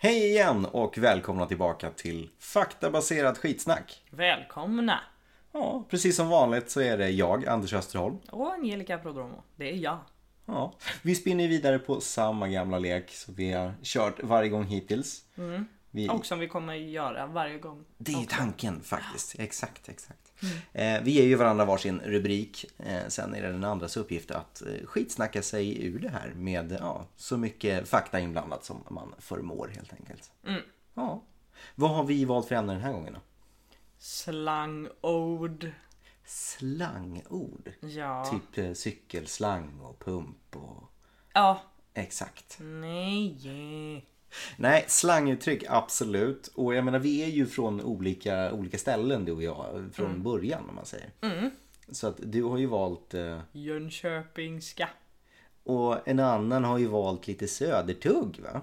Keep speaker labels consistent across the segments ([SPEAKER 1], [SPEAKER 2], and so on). [SPEAKER 1] veckan och välkomna tillbaka till faktabaserat skitsnack.
[SPEAKER 2] Välkomna!
[SPEAKER 1] Ja, precis som vanligt så är det jag, Anders Österholm.
[SPEAKER 2] Och Angelica Prodromo, det är jag.
[SPEAKER 1] Ja, vi spinner vidare på samma gamla lek som vi har kört varje gång hittills. Vi,
[SPEAKER 2] Och som vi kommer göra varje gång.
[SPEAKER 1] det är ju tanken faktiskt. Exakt, exakt. Eh, vi ger ju varandra varsin rubrik. Eh, sen är det den andras uppgift att eh, skitsnacka sig ur det här med ja, så mycket fakta inblandat som man förmår helt enkelt. Ja. Vad har vi valt för ämne den här gången då?
[SPEAKER 2] Slangord.
[SPEAKER 1] Slangord.
[SPEAKER 2] Ja.
[SPEAKER 1] Typ eh, cykelslang och pump och
[SPEAKER 2] Ja.
[SPEAKER 1] exakt.
[SPEAKER 2] Nej.
[SPEAKER 1] Nej, slanguttryck absolut. Och jag menar vi är ju från olika, olika ställen du och jag från början om man säger. Så att du har ju valt eh,
[SPEAKER 2] Jönköpingska.
[SPEAKER 1] och en annan har ju valt lite södertugg va?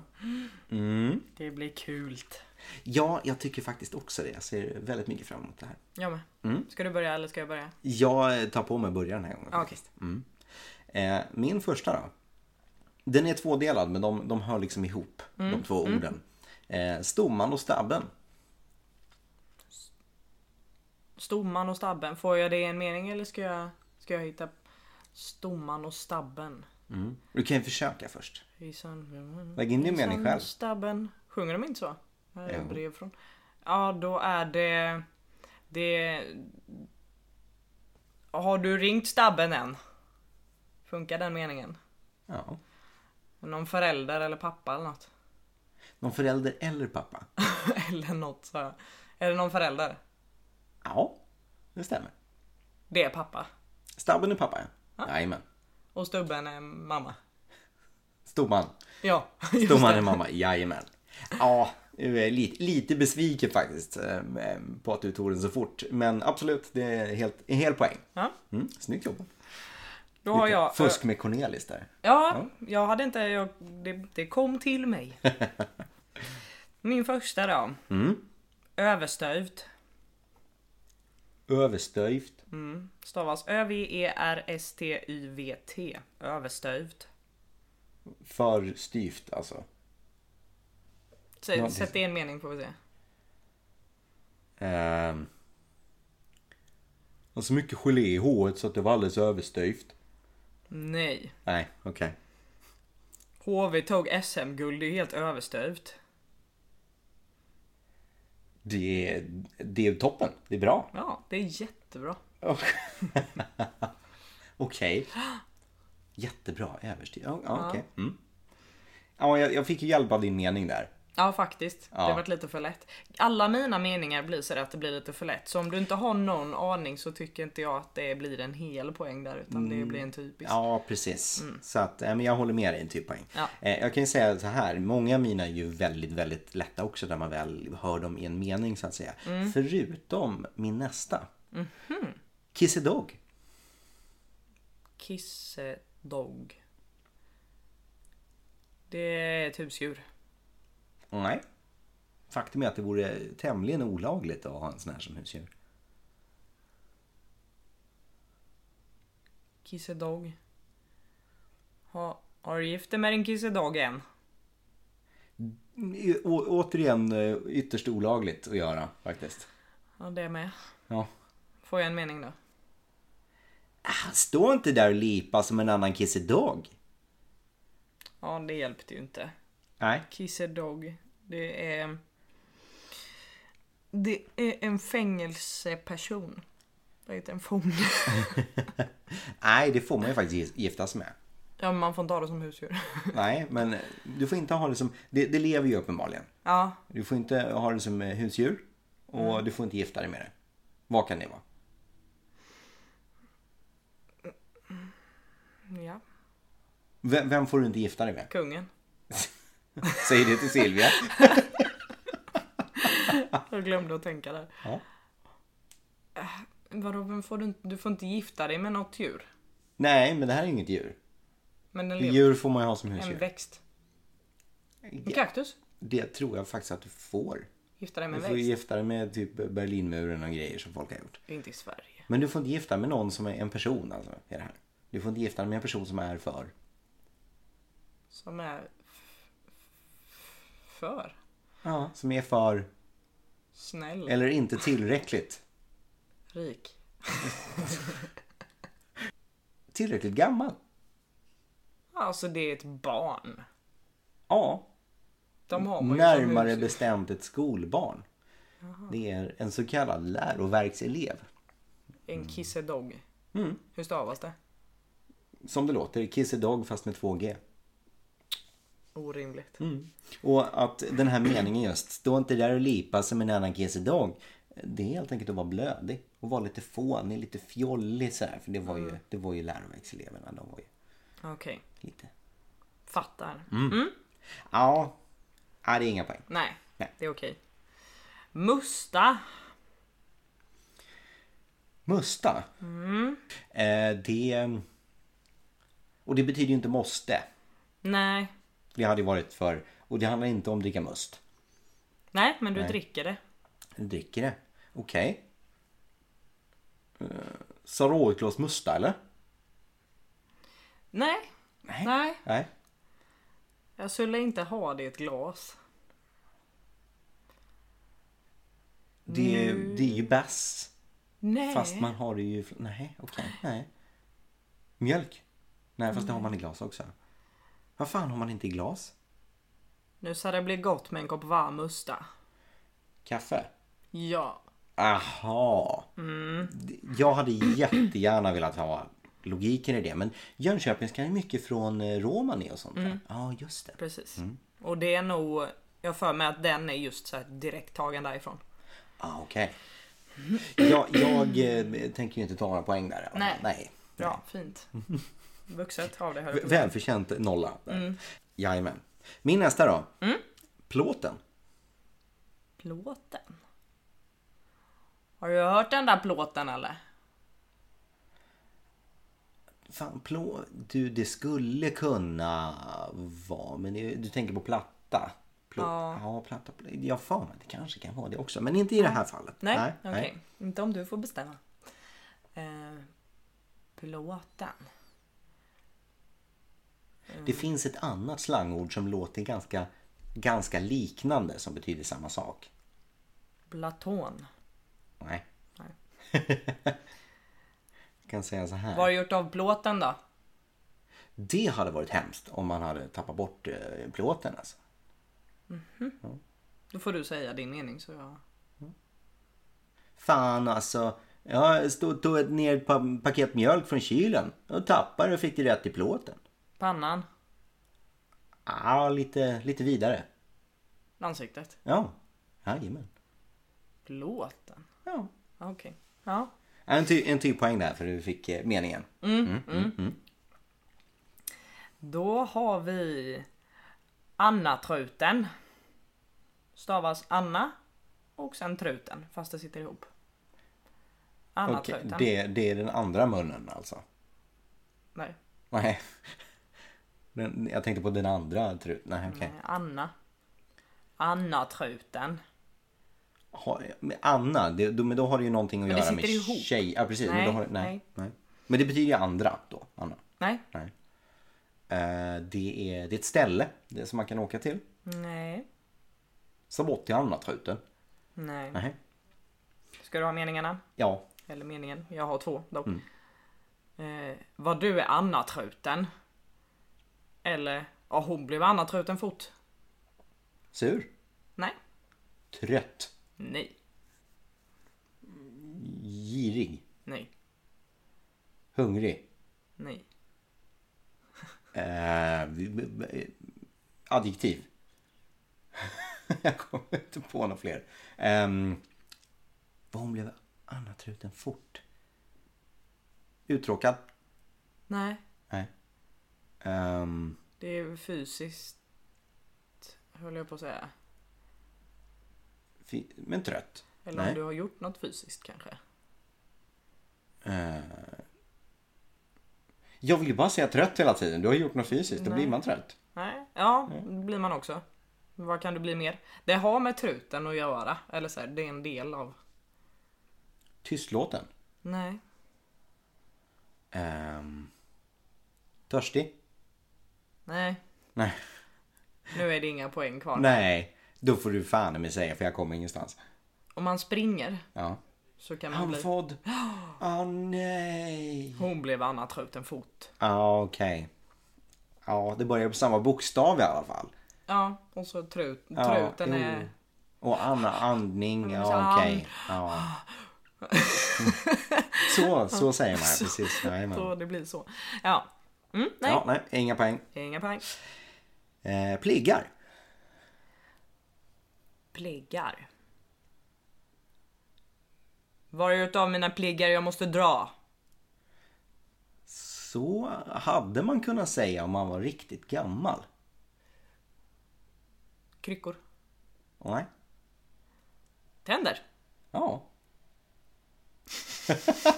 [SPEAKER 2] Det blir kult.
[SPEAKER 1] Ja, jag tycker faktiskt också det. Jag ser väldigt mycket fram emot det här.
[SPEAKER 2] Jag med. Ska du börja eller ska jag börja?
[SPEAKER 1] Jag eh, tar på mig början den här gången.
[SPEAKER 2] Okej.
[SPEAKER 1] faktiskt. Mm. Eh, min första då. Den är tvådelad men de, de hör liksom ihop
[SPEAKER 2] Mm.
[SPEAKER 1] de två orden. Eh, stomman och stabben.
[SPEAKER 2] Stomman och stabben, får jag det i en mening eller ska jag, ska jag hitta stomman och stabben?
[SPEAKER 1] Du kan ju försöka först.
[SPEAKER 2] Hejsan,
[SPEAKER 1] Lägg in din mening själv.
[SPEAKER 2] Stabben. Sjunger de inte så? Här är
[SPEAKER 1] Jo.
[SPEAKER 2] brev från. Ja, då är det... Det... Har du ringt stabben än? Funkar den meningen?
[SPEAKER 1] Ja.
[SPEAKER 2] Någon förälder eller pappa eller något?
[SPEAKER 1] Någon förälder eller pappa?
[SPEAKER 2] eller något så. här. Är det någon förälder?
[SPEAKER 1] Ja, det stämmer.
[SPEAKER 2] Det är pappa.
[SPEAKER 1] Stabben är pappa, ja. Jajamän.
[SPEAKER 2] Och stubben är mamma.
[SPEAKER 1] Stomman.
[SPEAKER 2] Ja, just
[SPEAKER 1] Stomman
[SPEAKER 2] det.
[SPEAKER 1] är mamma, jajamän. Ja, jag är lite, lite besviken faktiskt eh, på att du tog den så fort. Men absolut, det är helt, en hel poäng.
[SPEAKER 2] Ja,
[SPEAKER 1] Mm, snyggt jobbat.
[SPEAKER 2] då har
[SPEAKER 1] Lite
[SPEAKER 2] jag... eh,
[SPEAKER 1] Fusk med Cornelis där.
[SPEAKER 2] Ja, jag hade inte... Jag, det, det kom till mig. Min första då.
[SPEAKER 1] Mm.
[SPEAKER 2] Överstöjt.
[SPEAKER 1] Överstöjt.
[SPEAKER 2] Stavas E Ö-V-E-R-S-T-Y-V-T. Överstöjt.
[SPEAKER 1] För styvt alltså.
[SPEAKER 2] Så,
[SPEAKER 1] Ja, det-
[SPEAKER 2] Sätt det i en mening får vi se.
[SPEAKER 1] Ehm. Och så mycket gelé i håret så att det var alldeles överstöjt.
[SPEAKER 2] Nej.
[SPEAKER 1] Nej, okej.
[SPEAKER 2] HV tog SM-guld, det är helt överstöjt.
[SPEAKER 1] Det, är- det är toppen. Det är bra.
[SPEAKER 2] Ja, det är jättebra.
[SPEAKER 1] Okej. Jättebra överstyr. Ja, ja, okej. Mm. Ja, jag, jag fick ju hjälp av din mening där.
[SPEAKER 2] Ja faktiskt, det
[SPEAKER 1] Ja.
[SPEAKER 2] har varit lite för lätt. Alla mina meningar blir så där att det blir lite för lätt. Så om du inte har någon aning så tycker inte jag att det blir en hel poäng där utan det blir en typisk.
[SPEAKER 1] Mm, Ja, precis. Så att, eh, men jag håller med dig en typ poäng.
[SPEAKER 2] Ja.
[SPEAKER 1] Eh, Jag kan ju säga så här, många av mina är ju väldigt, väldigt lätta också när man väl hör dem i en mening så att säga. Förutom min nästa. Mm. Kissedog.
[SPEAKER 2] Kissedog. Det är ett husdjur.
[SPEAKER 1] Nej. Faktum är att det vore tämligen olagligt att ha en sån här som husdjur.
[SPEAKER 2] Kissedog. Ha, har du gift dig med din kissedog än?
[SPEAKER 1] Å- återigen eh, ytterst olagligt att göra faktiskt.
[SPEAKER 2] Ja det är med.
[SPEAKER 1] Ja.
[SPEAKER 2] Får jag en mening då?
[SPEAKER 1] Ah, Stå inte där och lipa som en annan kissedog.
[SPEAKER 2] Ja det hjälpte ju inte.
[SPEAKER 1] Nej.
[SPEAKER 2] Kissedog. Det är... Det är en fängelseperson. Vad heter en fånge?
[SPEAKER 1] Nej, det får man ju faktiskt gifta sig med.
[SPEAKER 2] Ja men man får inte ha det som husdjur.
[SPEAKER 1] Nej, men du får inte ha det som... Det, det lever ju uppenbarligen.
[SPEAKER 2] Ja,
[SPEAKER 1] Du får inte ha det som eh, husdjur och du får inte gifta dig med det. Vad kan det vara?
[SPEAKER 2] ja.
[SPEAKER 1] Vem, vem får du inte gifta dig med?
[SPEAKER 2] Kungen.
[SPEAKER 1] Säg det till Silvia.
[SPEAKER 2] Jag glömde att tänka där. Äh,
[SPEAKER 1] Ja.
[SPEAKER 2] Vadå, vem får du, inte- du får inte gifta dig med något djur?
[SPEAKER 1] Nej, men det här är inget djur.
[SPEAKER 2] Men den lever.
[SPEAKER 1] Djur får man ju ha som
[SPEAKER 2] En
[SPEAKER 1] husdjur.
[SPEAKER 2] växt. En
[SPEAKER 1] Det,
[SPEAKER 2] kaktus?
[SPEAKER 1] det tror jag faktiskt att du får.
[SPEAKER 2] Gifta dig med
[SPEAKER 1] Du
[SPEAKER 2] en
[SPEAKER 1] får ju
[SPEAKER 2] växt.
[SPEAKER 1] gifta dig med typ Berlinmuren och grejer som folk har gjort.
[SPEAKER 2] Inte i Sverige.
[SPEAKER 1] Men du får inte gifta dig med någon som är en person alltså. Är det här. Du får inte gifta dig med en person som är för.
[SPEAKER 2] Som är... f- f- För? Ja.
[SPEAKER 1] Som är för,
[SPEAKER 2] Snäll.
[SPEAKER 1] eller inte tillräckligt,
[SPEAKER 2] Rik.
[SPEAKER 1] tillräckligt gammal.
[SPEAKER 2] Alltså det är ett barn.
[SPEAKER 1] Ja,
[SPEAKER 2] De har man ju som
[SPEAKER 1] närmare
[SPEAKER 2] husdjur.
[SPEAKER 1] bestämt ett skolbarn. Det är en så kallad läroverkselev.
[SPEAKER 2] En kissedog.
[SPEAKER 1] Mm.
[SPEAKER 2] Hur stavas det?
[SPEAKER 1] Som det låter, Kiss a Dog fast med 2G.
[SPEAKER 2] Orimligt.
[SPEAKER 1] Mm. Och att den här meningen just, stå inte där och lipa som en annan Kiss a Dog. Det är helt enkelt att vara blödig och vara lite fånig, lite fjollig så här. För det var ju, det var ju läroverkseleverna, de var ju
[SPEAKER 2] Okej.
[SPEAKER 1] lite...
[SPEAKER 2] Fattar.
[SPEAKER 1] Mm. Ja, ja det är inga poäng.
[SPEAKER 2] Nej,
[SPEAKER 1] Nej.
[SPEAKER 2] det är okej. Musta.
[SPEAKER 1] Musta.
[SPEAKER 2] Mm.
[SPEAKER 1] Eh, det... Och det betyder ju inte måste.
[SPEAKER 2] Nej.
[SPEAKER 1] Det hade ju varit för... Och det handlar inte om dricka must.
[SPEAKER 2] Nej, men du dricker det.
[SPEAKER 1] Du dricker det. Okej. Okay. Sa råglas musta eller?
[SPEAKER 2] Nej.
[SPEAKER 1] Nej.
[SPEAKER 2] Nej.
[SPEAKER 1] Nej.
[SPEAKER 2] Jag skulle inte ha det i ett glas.
[SPEAKER 1] Det är, ju- det är ju bärs.
[SPEAKER 2] Nej.
[SPEAKER 1] Fast man har det ju... Nej, okej. Nej. Mjölk? Nej, fast det har man i glas också. Vad fan har man inte i glas?
[SPEAKER 2] Nu ska det bli gott med en kopp varm musta.
[SPEAKER 1] Kaffe?
[SPEAKER 2] Ja.
[SPEAKER 1] Aha. Jag hade jättegärna velat ha logiken i det. Men Jönköpingskan är mycket från eh, romani och sånt där. Ja, just det.
[SPEAKER 2] Precis. Och det är nog, jag har för mig att den är just så här direkt tagen därifrån.
[SPEAKER 1] Ah, Okej. Jag, jag eh, tänker ju inte ta några poäng där.
[SPEAKER 2] Nej.
[SPEAKER 1] Nej.
[SPEAKER 2] Bra, fint. Vuxet av det
[SPEAKER 1] V-
[SPEAKER 2] här.
[SPEAKER 1] Välförtjänt nolla. Där. Jajamän. Min nästa då. Plåten.
[SPEAKER 2] Plåten. Har du hört den där plåten eller?
[SPEAKER 1] Fan, plå... Du, det skulle kunna vara... Men det, du tänker på platta? Plå... Ja. platta. Jag har för mig att det kanske kan vara det också. Men inte i det här fallet.
[SPEAKER 2] Nej, okej. Inte om du får bestämma. Eh, plåten.
[SPEAKER 1] Det finns ett annat slangord som låter ganska, ganska liknande som betyder samma sak.
[SPEAKER 2] Platon.
[SPEAKER 1] Nej.
[SPEAKER 2] Nej.
[SPEAKER 1] Jag kan säga så här.
[SPEAKER 2] Vad har du gjort av plåten då?
[SPEAKER 1] Det hade varit hemskt om man hade tappat bort eh, plåten alltså.
[SPEAKER 2] Då får du säga din mening så jag...
[SPEAKER 1] Fan alltså. Jag stod, tog ett- ner ett pa- paket mjölk från kylen och tappade och fick det rätt i plåten.
[SPEAKER 2] Pannan.
[SPEAKER 1] Ja, ah, lite, lite vidare.
[SPEAKER 2] Ansiktet.
[SPEAKER 1] Ja, jajamän.
[SPEAKER 2] Plåten.
[SPEAKER 1] Ja.
[SPEAKER 2] Okej. Ja.
[SPEAKER 1] En till, en till poäng där för du fick eh, meningen.
[SPEAKER 2] Då har vi Anna-truten. Stavas Anna och sen truten fast det sitter ihop.
[SPEAKER 1] Okej,
[SPEAKER 2] Anna-truten.
[SPEAKER 1] det, det är den andra munnen alltså.
[SPEAKER 2] Nej.
[SPEAKER 1] Nej. Den, jag tänkte på den andra trut. Nej, okej.
[SPEAKER 2] Nej, Anna. Anna-truten.
[SPEAKER 1] Har- men Anna, det, då, men då har det ju någonting att
[SPEAKER 2] det
[SPEAKER 1] göra med
[SPEAKER 2] sitter ihop.
[SPEAKER 1] tjej. Ja, precis. men,
[SPEAKER 2] Nej,
[SPEAKER 1] då har, nej, nej.
[SPEAKER 2] nej.
[SPEAKER 1] men det betyder ju andra då, Anna.
[SPEAKER 2] Nej.
[SPEAKER 1] Nej. Eh, det, är, det är ett ställe det, som man kan åka till.
[SPEAKER 2] Nej.
[SPEAKER 1] Så bort till Anna-truten.
[SPEAKER 2] Nej.
[SPEAKER 1] Nej.
[SPEAKER 2] Ska du ha meningarna?
[SPEAKER 1] Ja,
[SPEAKER 2] Eller meningen. Jag har två dock. Eh, vad du är Anna-truten. Eller, ja hon blev Anna-truten fort.
[SPEAKER 1] sur.
[SPEAKER 2] Nej.
[SPEAKER 1] Trött.
[SPEAKER 2] Nej.
[SPEAKER 1] Girig.
[SPEAKER 2] Nej.
[SPEAKER 1] Hungrig.
[SPEAKER 2] Nej.
[SPEAKER 1] Eh, vi- b- b- adjektiv. jag kommer inte på några fler. Um, vad hon blev annatruten fort. Uttråkad?
[SPEAKER 2] Nej.
[SPEAKER 1] Nej. Ehm,
[SPEAKER 2] Det är fysiskt, höll jag på att säga.
[SPEAKER 1] fi- men trött?
[SPEAKER 2] Eller
[SPEAKER 1] Nej.
[SPEAKER 2] om du har gjort något fysiskt kanske.
[SPEAKER 1] Eh, jag vill ju bara säga trött hela tiden. Du har gjort något fysiskt, då
[SPEAKER 2] Nej.
[SPEAKER 1] blir man trött.
[SPEAKER 2] Nej, ja, det blir man också. Vad kan du bli mer? Det har med truten att göra. Eller så här, det är en del av.
[SPEAKER 1] Tystlåten?
[SPEAKER 2] Nej,
[SPEAKER 1] Ehm, törstig?
[SPEAKER 2] nej.
[SPEAKER 1] Nej.
[SPEAKER 2] Nu är det inga poäng kvar.
[SPEAKER 1] Nej. Då får du fan i mig säga för jag kommer ingenstans.
[SPEAKER 2] Om man springer
[SPEAKER 1] Ja.
[SPEAKER 2] så kan man bli...
[SPEAKER 1] Andfådd. Åh nej.
[SPEAKER 2] Hon blev Anna trött en fot.
[SPEAKER 1] Ja okej. Ja det börjar på samma bokstav i alla fall.
[SPEAKER 2] Ja, och så trut,
[SPEAKER 1] Ja,
[SPEAKER 2] truten
[SPEAKER 1] jo.
[SPEAKER 2] är...
[SPEAKER 1] Och Anna andning.
[SPEAKER 2] så
[SPEAKER 1] Ja
[SPEAKER 2] här,
[SPEAKER 1] okej. Ja. Så, så säger man ja, precis. Jajamän.
[SPEAKER 2] Så det blir så. Ja. Mm, nej,
[SPEAKER 1] Ja, nej, inga poäng.
[SPEAKER 2] inga poäng.
[SPEAKER 1] Eh, pliggar.
[SPEAKER 2] Pliggar. Var är utav mina pliggar jag måste dra?
[SPEAKER 1] Så hade man kunnat säga om man var riktigt gammal.
[SPEAKER 2] Kryckor.
[SPEAKER 1] Nej.
[SPEAKER 2] Tänder.
[SPEAKER 1] Ja.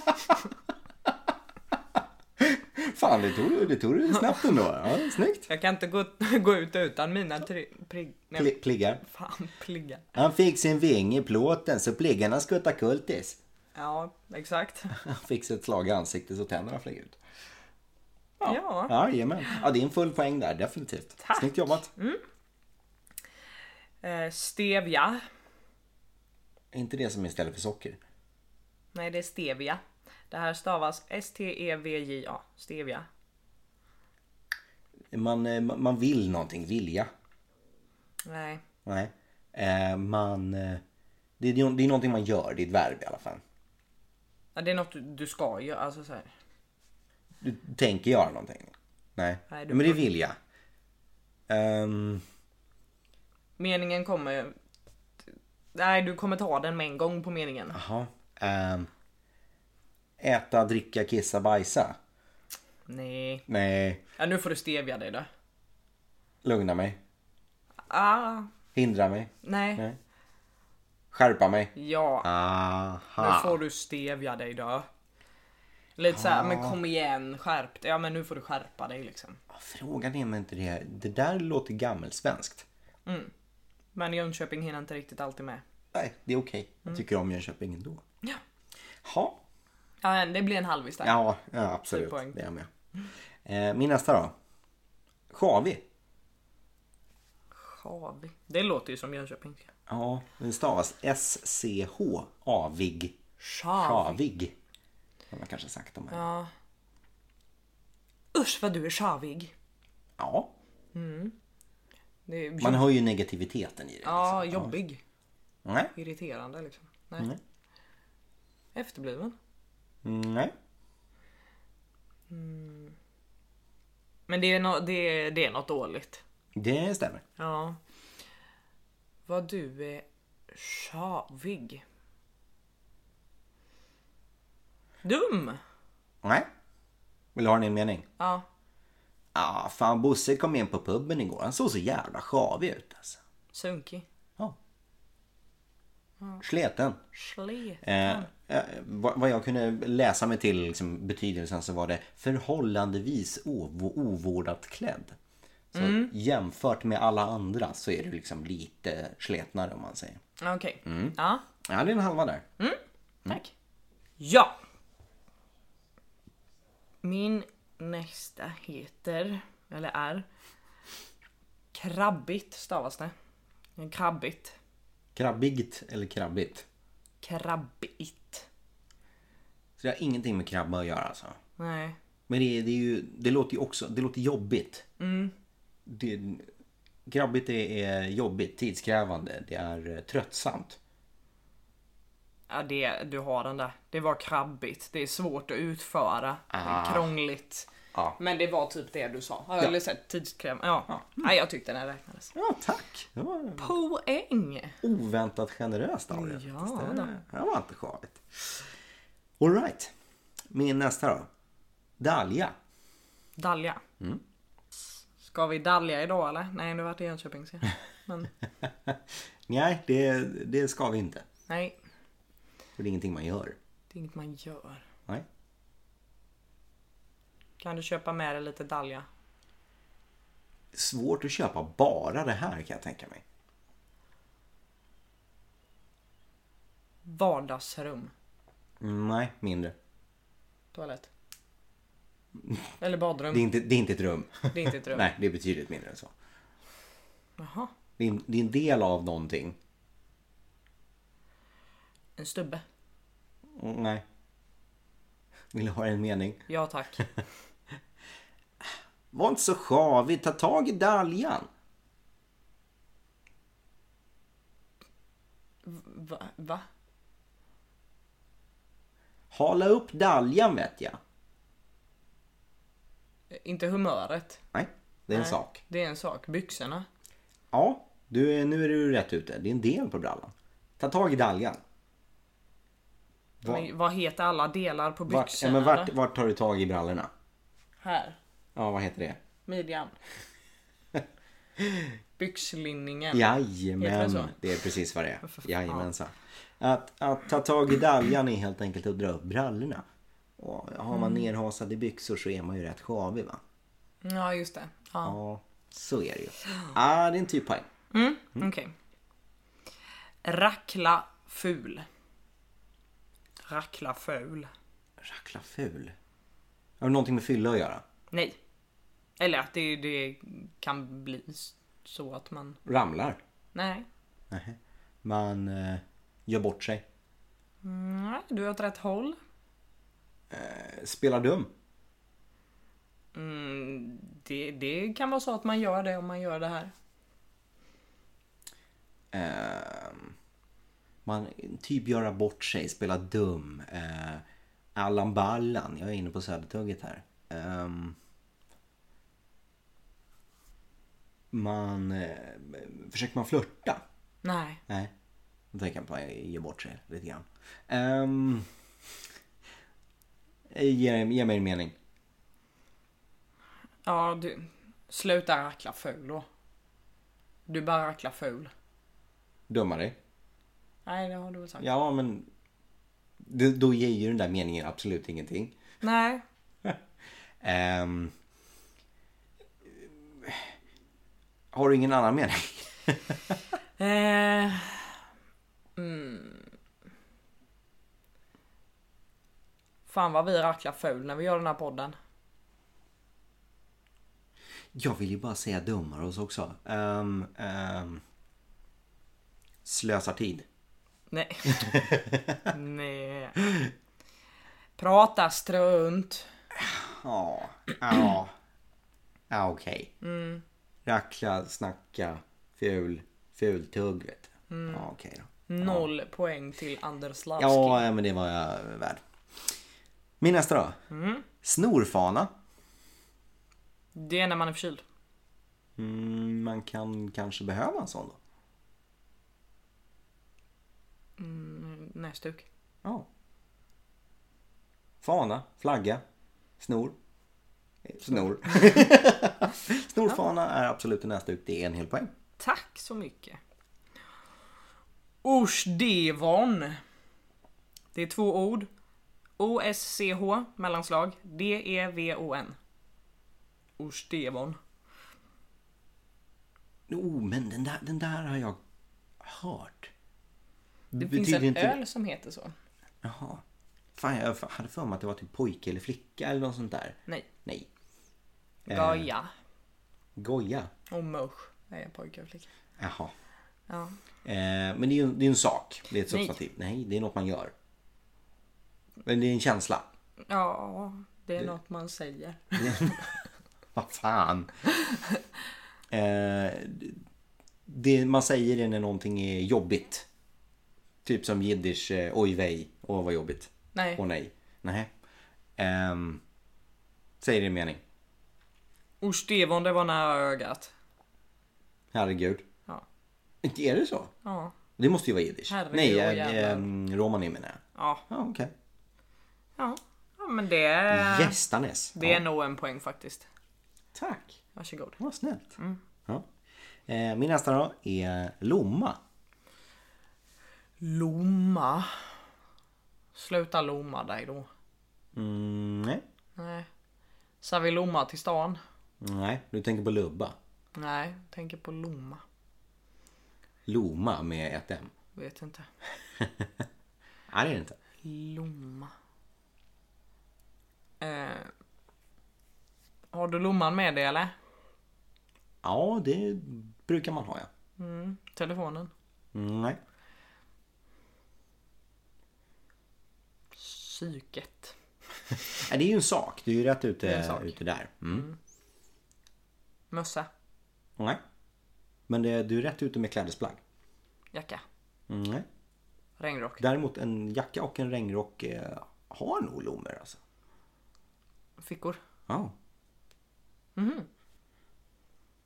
[SPEAKER 1] Fan, det tog, det tog du snabbt ändå. Ja, snyggt.
[SPEAKER 2] Jag kan inte gå, gå ut utan mina tri, prig, nej,
[SPEAKER 1] Pli- Pliggar.
[SPEAKER 2] fan, pliggar.
[SPEAKER 1] Han fick sin ving i plåten så pliggarna skuttade kultis.
[SPEAKER 2] Ja, exakt.
[SPEAKER 1] Han fick sig ett slag i ansiktet så tänderna flög ut.
[SPEAKER 2] Ja.
[SPEAKER 1] Ja, jajamän. Ja, det är en full poäng där, definitivt.
[SPEAKER 2] Tack.
[SPEAKER 1] Snyggt jobbat.
[SPEAKER 2] Eh, stevia.
[SPEAKER 1] Inte det som är istället för socker.
[SPEAKER 2] Nej, det är stevia. Det här stavas E S-T-E-V-J-A. Stevia.
[SPEAKER 1] Man, eh, man man vill någonting, vilja.
[SPEAKER 2] Nej.
[SPEAKER 1] Nej. Eh, man... eh, Det är, det är någonting man gör, det är ett verb i alla fall.
[SPEAKER 2] Ja, det är något du, du ska göra. Alltså så här.
[SPEAKER 1] Du tänker göra någonting? Nej.
[SPEAKER 2] Nej, du-
[SPEAKER 1] Men det är vilja. Ehm,
[SPEAKER 2] Meningen kommer... Nej, du kommer ta den med en gång på meningen.
[SPEAKER 1] Jaha. Ehm, äta, dricka, kissa, bajsa?
[SPEAKER 2] Nej.
[SPEAKER 1] Nej.
[SPEAKER 2] Ja, nu får du stevia dig då.
[SPEAKER 1] Lugna mig?
[SPEAKER 2] Ah,
[SPEAKER 1] Hindra mig?
[SPEAKER 2] nej.
[SPEAKER 1] Nej. Skärpa mig?
[SPEAKER 2] Ja, nu
[SPEAKER 1] Aha.
[SPEAKER 2] får du stevia dig då. Lite
[SPEAKER 1] Ah.
[SPEAKER 2] såhär, men kom igen, skärp dig. Ja men nu får du skärpa dig liksom.
[SPEAKER 1] Frågan är om inte det... Det där låter gammelsvenskt.
[SPEAKER 2] Men Jönköping hinner inte riktigt alltid med.
[SPEAKER 1] Nej, det är okej.
[SPEAKER 2] Mm.
[SPEAKER 1] Jag tycker om Jönköping ändå.
[SPEAKER 2] Ja.
[SPEAKER 1] Ha.
[SPEAKER 2] Ja, det blir en halvis där.
[SPEAKER 1] Ja, ja absolut.
[SPEAKER 2] Full poäng.
[SPEAKER 1] Det är jag med. Eh, min nästa då. Sjavig.
[SPEAKER 2] Schavi. Det låter ju som Jönköping.
[SPEAKER 1] Ja, den stavas S-C-H. Avig.
[SPEAKER 2] Schav.
[SPEAKER 1] Sjavig. Har man kanske sagt de här. Ja.
[SPEAKER 2] Ja. Usch vad du är sjavig. Det är
[SPEAKER 1] Man hör ju negativiteten i det.
[SPEAKER 2] ja,
[SPEAKER 1] liksom.
[SPEAKER 2] jobbig.
[SPEAKER 1] Ja. Nej.
[SPEAKER 2] Irriterande liksom. Nej. Efterbliven.
[SPEAKER 1] Mm, Nej.
[SPEAKER 2] Men det är, nå det, är, det är något dåligt.
[SPEAKER 1] Det stämmer.
[SPEAKER 2] Ja. Vad du eh, är sjavig. Dum!
[SPEAKER 1] Nej. Vill du ha en ny mening?
[SPEAKER 2] Ja.
[SPEAKER 1] Ah, fan Bosse kom in på puben igår. Han såg så jävla sjavig ut alltså.
[SPEAKER 2] Sunkig.
[SPEAKER 1] Ja. Sleten.
[SPEAKER 2] Slet.
[SPEAKER 1] Eh, eh, vad vad jag kunde läsa mig till liksom, betydelsen så var det förhållandevis ov- ovårdat klädd. Så jämfört med alla andra så är du liksom lite sletnare om man säger.
[SPEAKER 2] Okej. Ja,
[SPEAKER 1] Ja, det är en halva där. Mm.
[SPEAKER 2] tack. Ja! Min nästa heter, eller är, krabbigt stavas det. Krabbigt.
[SPEAKER 1] Krabbigt eller krabbigt.
[SPEAKER 2] Krabbigt.
[SPEAKER 1] Så det har ingenting med krabba att göra alltså.
[SPEAKER 2] Nej.
[SPEAKER 1] Men det, är- det, är ju, det låter ju också, det låter jobbigt. Det, grabbigt det är jobbigt, tidskrävande, det är eh, tröttsamt.
[SPEAKER 2] Ja, det, du har den där. Det var krabbigt, det är svårt att utföra, det är krångligt.
[SPEAKER 1] Ah. Ja.
[SPEAKER 2] Men det var typ det du sa. Eller så här, tidskräm. Ja. Ja. Nej, jag tyckte den räknades.
[SPEAKER 1] Ja, tack! Det var
[SPEAKER 2] Poäng!
[SPEAKER 1] oväntat generöst av dig.
[SPEAKER 2] Ja,
[SPEAKER 1] faktiskt.
[SPEAKER 2] då.
[SPEAKER 1] det det var inte skavigt. Alright. Min nästa då. Dahlia.
[SPEAKER 2] Dalja.
[SPEAKER 1] Mm.
[SPEAKER 2] Ska vi dalja idag eller? Nej, nu vart det Jönköping. ser jag. Men
[SPEAKER 1] Nej, det, det ska vi inte.
[SPEAKER 2] nej,
[SPEAKER 1] För det är ingenting man gör.
[SPEAKER 2] det är inget man gör.
[SPEAKER 1] Nej.
[SPEAKER 2] Kan du köpa med dig lite dalja?
[SPEAKER 1] Svårt att köpa bara det här kan jag tänka mig.
[SPEAKER 2] Vardagsrum.
[SPEAKER 1] Mm, Nej, mindre.
[SPEAKER 2] Toalett. Eller
[SPEAKER 1] Det är
[SPEAKER 2] badrum.
[SPEAKER 1] inte, det är inte ett rum.
[SPEAKER 2] Det är inte ett rum.
[SPEAKER 1] Nej, det är betydligt mindre än så.
[SPEAKER 2] Jaha.
[SPEAKER 1] Det är en- det är en del av någonting.
[SPEAKER 2] En stubbe.
[SPEAKER 1] Mm, Nej. Vill du ha en mening?
[SPEAKER 2] Ja tack.
[SPEAKER 1] Var inte så sjavig, ta tag i daljan.
[SPEAKER 2] Va? Va?
[SPEAKER 1] Hala upp daljan vet jag.
[SPEAKER 2] Inte humöret.
[SPEAKER 1] Nej, det är en
[SPEAKER 2] Nej,
[SPEAKER 1] sak.
[SPEAKER 2] Det är en sak. Byxorna.
[SPEAKER 1] Ja, du, är- nu är du rätt ute. Det är en del på brallan. Ta tag i daljan. Va-
[SPEAKER 2] Men vad heter alla delar på byxorna?
[SPEAKER 1] Vart, ja, men vart,
[SPEAKER 2] eller?
[SPEAKER 1] vart tar du tag i brallorna?
[SPEAKER 2] Här.
[SPEAKER 1] Ja, vad heter det?
[SPEAKER 2] Midjan. Byxlinningen. Heter det
[SPEAKER 1] Jajamän,
[SPEAKER 2] så?
[SPEAKER 1] det är precis vad det är.
[SPEAKER 2] för fan.
[SPEAKER 1] Jajamensan. Att, att ta tag i daljan är helt enkelt att dra upp brallorna. Och har man
[SPEAKER 2] Mm.
[SPEAKER 1] nerhasade byxor så är man ju rätt sjavig va?
[SPEAKER 2] Ja, just det. Ja.
[SPEAKER 1] Ja, så är det ju. Ah, det är en typ poäng.
[SPEAKER 2] Mm, okej. Rackla ful. Rackla ful.
[SPEAKER 1] Rackla ful. Har det någonting med fylla att göra?
[SPEAKER 2] Nej. Eller att det, det kan bli s- så att man...
[SPEAKER 1] Ramlar?
[SPEAKER 2] Nej.
[SPEAKER 1] Nej. Man eh, gör bort sig.
[SPEAKER 2] Mm, Nej, du är åt rätt håll.
[SPEAKER 1] Eh, Spelar dum.
[SPEAKER 2] Mm, det, det kan vara så att man gör det om man gör det här.
[SPEAKER 1] Ehm, man typ göra bort sig, spela dum. Eh, Allan Ballan, jag är inne på Södertugget här. Ehm, man... eh, försöker man flörta?
[SPEAKER 2] Nej.
[SPEAKER 1] Nej. Då tänker jag på att ge bort sig lite grann. Um, ge, ge mig en mening.
[SPEAKER 2] Ja, du. Sluta rackla ful då. Du bara rackla ful.
[SPEAKER 1] Döma dig.
[SPEAKER 2] Nej, det har du väl sagt.
[SPEAKER 1] Ja, men... Då, då ger ju den där meningen absolut ingenting.
[SPEAKER 2] Nej.
[SPEAKER 1] Ehm, har du ingen annan mening?
[SPEAKER 2] Eh, mm. Fan vad vi racklar ful när vi gör den här podden.
[SPEAKER 1] Jag vill ju bara säga dummar oss också. Ehm, ehm, slösar tid.
[SPEAKER 2] Nej. Nej. Prata strunt.
[SPEAKER 1] Ja, ja. Ja, okej. Rackla, snacka, ful, fultugg vet du. Ja, okej då.
[SPEAKER 2] Noll poäng till Anders Lavski.
[SPEAKER 1] Ja, ja, men det var jag värd. Min nästa då. Snorfana.
[SPEAKER 2] Det är när man är förkyld.
[SPEAKER 1] Mm, man kan kanske behöva en sån då.
[SPEAKER 2] Mm, Näsduk.
[SPEAKER 1] Ja. Fana, flagga, snor. Eh, Snor. Snorfana är absolut en näsduk. Det är en hel poäng.
[SPEAKER 2] Tack så mycket. Orsdevon. Det är två ord. O-S-C-H mellanslag E D-E-V-O-N. Orsdevon.
[SPEAKER 1] Oh, men den där, den där har jag hört.
[SPEAKER 2] Det finns en öl som heter så.
[SPEAKER 1] Jaha. Fan, jag hade för mig att det var typ pojke eller flicka eller något sånt där.
[SPEAKER 2] Nej.
[SPEAKER 1] Nej.
[SPEAKER 2] Eh. Gaia.
[SPEAKER 1] Goja.
[SPEAKER 2] Och Mosh. Nej, pojkar och flickor.
[SPEAKER 1] Jaha.
[SPEAKER 2] Ja.
[SPEAKER 1] Eh, men det är ju det är en sak. Det är ett
[SPEAKER 2] Nej.
[SPEAKER 1] substantiv. Nej. det är något man gör. Men det är en känsla.
[SPEAKER 2] ja, det är något man säger.
[SPEAKER 1] Vad fan. Eh, det man säger det när någonting är jobbigt. Typ som jiddisch, eh, oj vej, åh vad jobbigt.
[SPEAKER 2] Nej.
[SPEAKER 1] Åh nej. Nej. Ehm, säg din mening.
[SPEAKER 2] Orsdevon, det var nära ögat.
[SPEAKER 1] Herregud.
[SPEAKER 2] Ja.
[SPEAKER 1] Är det så?
[SPEAKER 2] Ja.
[SPEAKER 1] Det måste ju vara jiddisch.
[SPEAKER 2] Herregud,
[SPEAKER 1] Nej,
[SPEAKER 2] åh,
[SPEAKER 1] äh,
[SPEAKER 2] jävlar.
[SPEAKER 1] ähm, romani menar jag.
[SPEAKER 2] Ja.
[SPEAKER 1] Ja, okej.
[SPEAKER 2] Ja. ja men det är...
[SPEAKER 1] Gästanes.
[SPEAKER 2] Det är nog en poäng faktiskt.
[SPEAKER 1] Tack.
[SPEAKER 2] Varsågod.
[SPEAKER 1] Vad snällt.
[SPEAKER 2] Mm.
[SPEAKER 1] Ja. Eh, min nästa då är Lomma.
[SPEAKER 2] Lomma. Sluta lomma dig då.
[SPEAKER 1] Mm, nej.
[SPEAKER 2] Nej. Ska vi lomma till stan?
[SPEAKER 1] nej, du tänker på Lubba.
[SPEAKER 2] Nej, tänker på lomma.
[SPEAKER 1] Loma med ett M.
[SPEAKER 2] Vet inte.
[SPEAKER 1] Nej, det är det inte.
[SPEAKER 2] Lomma. Eh, har du lomman med dig eller?
[SPEAKER 1] Ja, det brukar man ha ja.
[SPEAKER 2] Mm. Telefonen.
[SPEAKER 1] Mm, Nej.
[SPEAKER 2] Psyket.
[SPEAKER 1] Nej, Det är ju en sak. Du är ju rätt
[SPEAKER 2] Det är en
[SPEAKER 1] ute,
[SPEAKER 2] sak.
[SPEAKER 1] ute där. Mm.
[SPEAKER 2] Mössa.
[SPEAKER 1] Nej. Men det, du är rätt ute med klädesplagg.
[SPEAKER 2] Jacka.
[SPEAKER 1] Mm, Nej.
[SPEAKER 2] Regnrock.
[SPEAKER 1] Däremot en jacka och en regnrock eh, har nog blommor alltså.
[SPEAKER 2] Fickor.
[SPEAKER 1] Ja.
[SPEAKER 2] Mhm.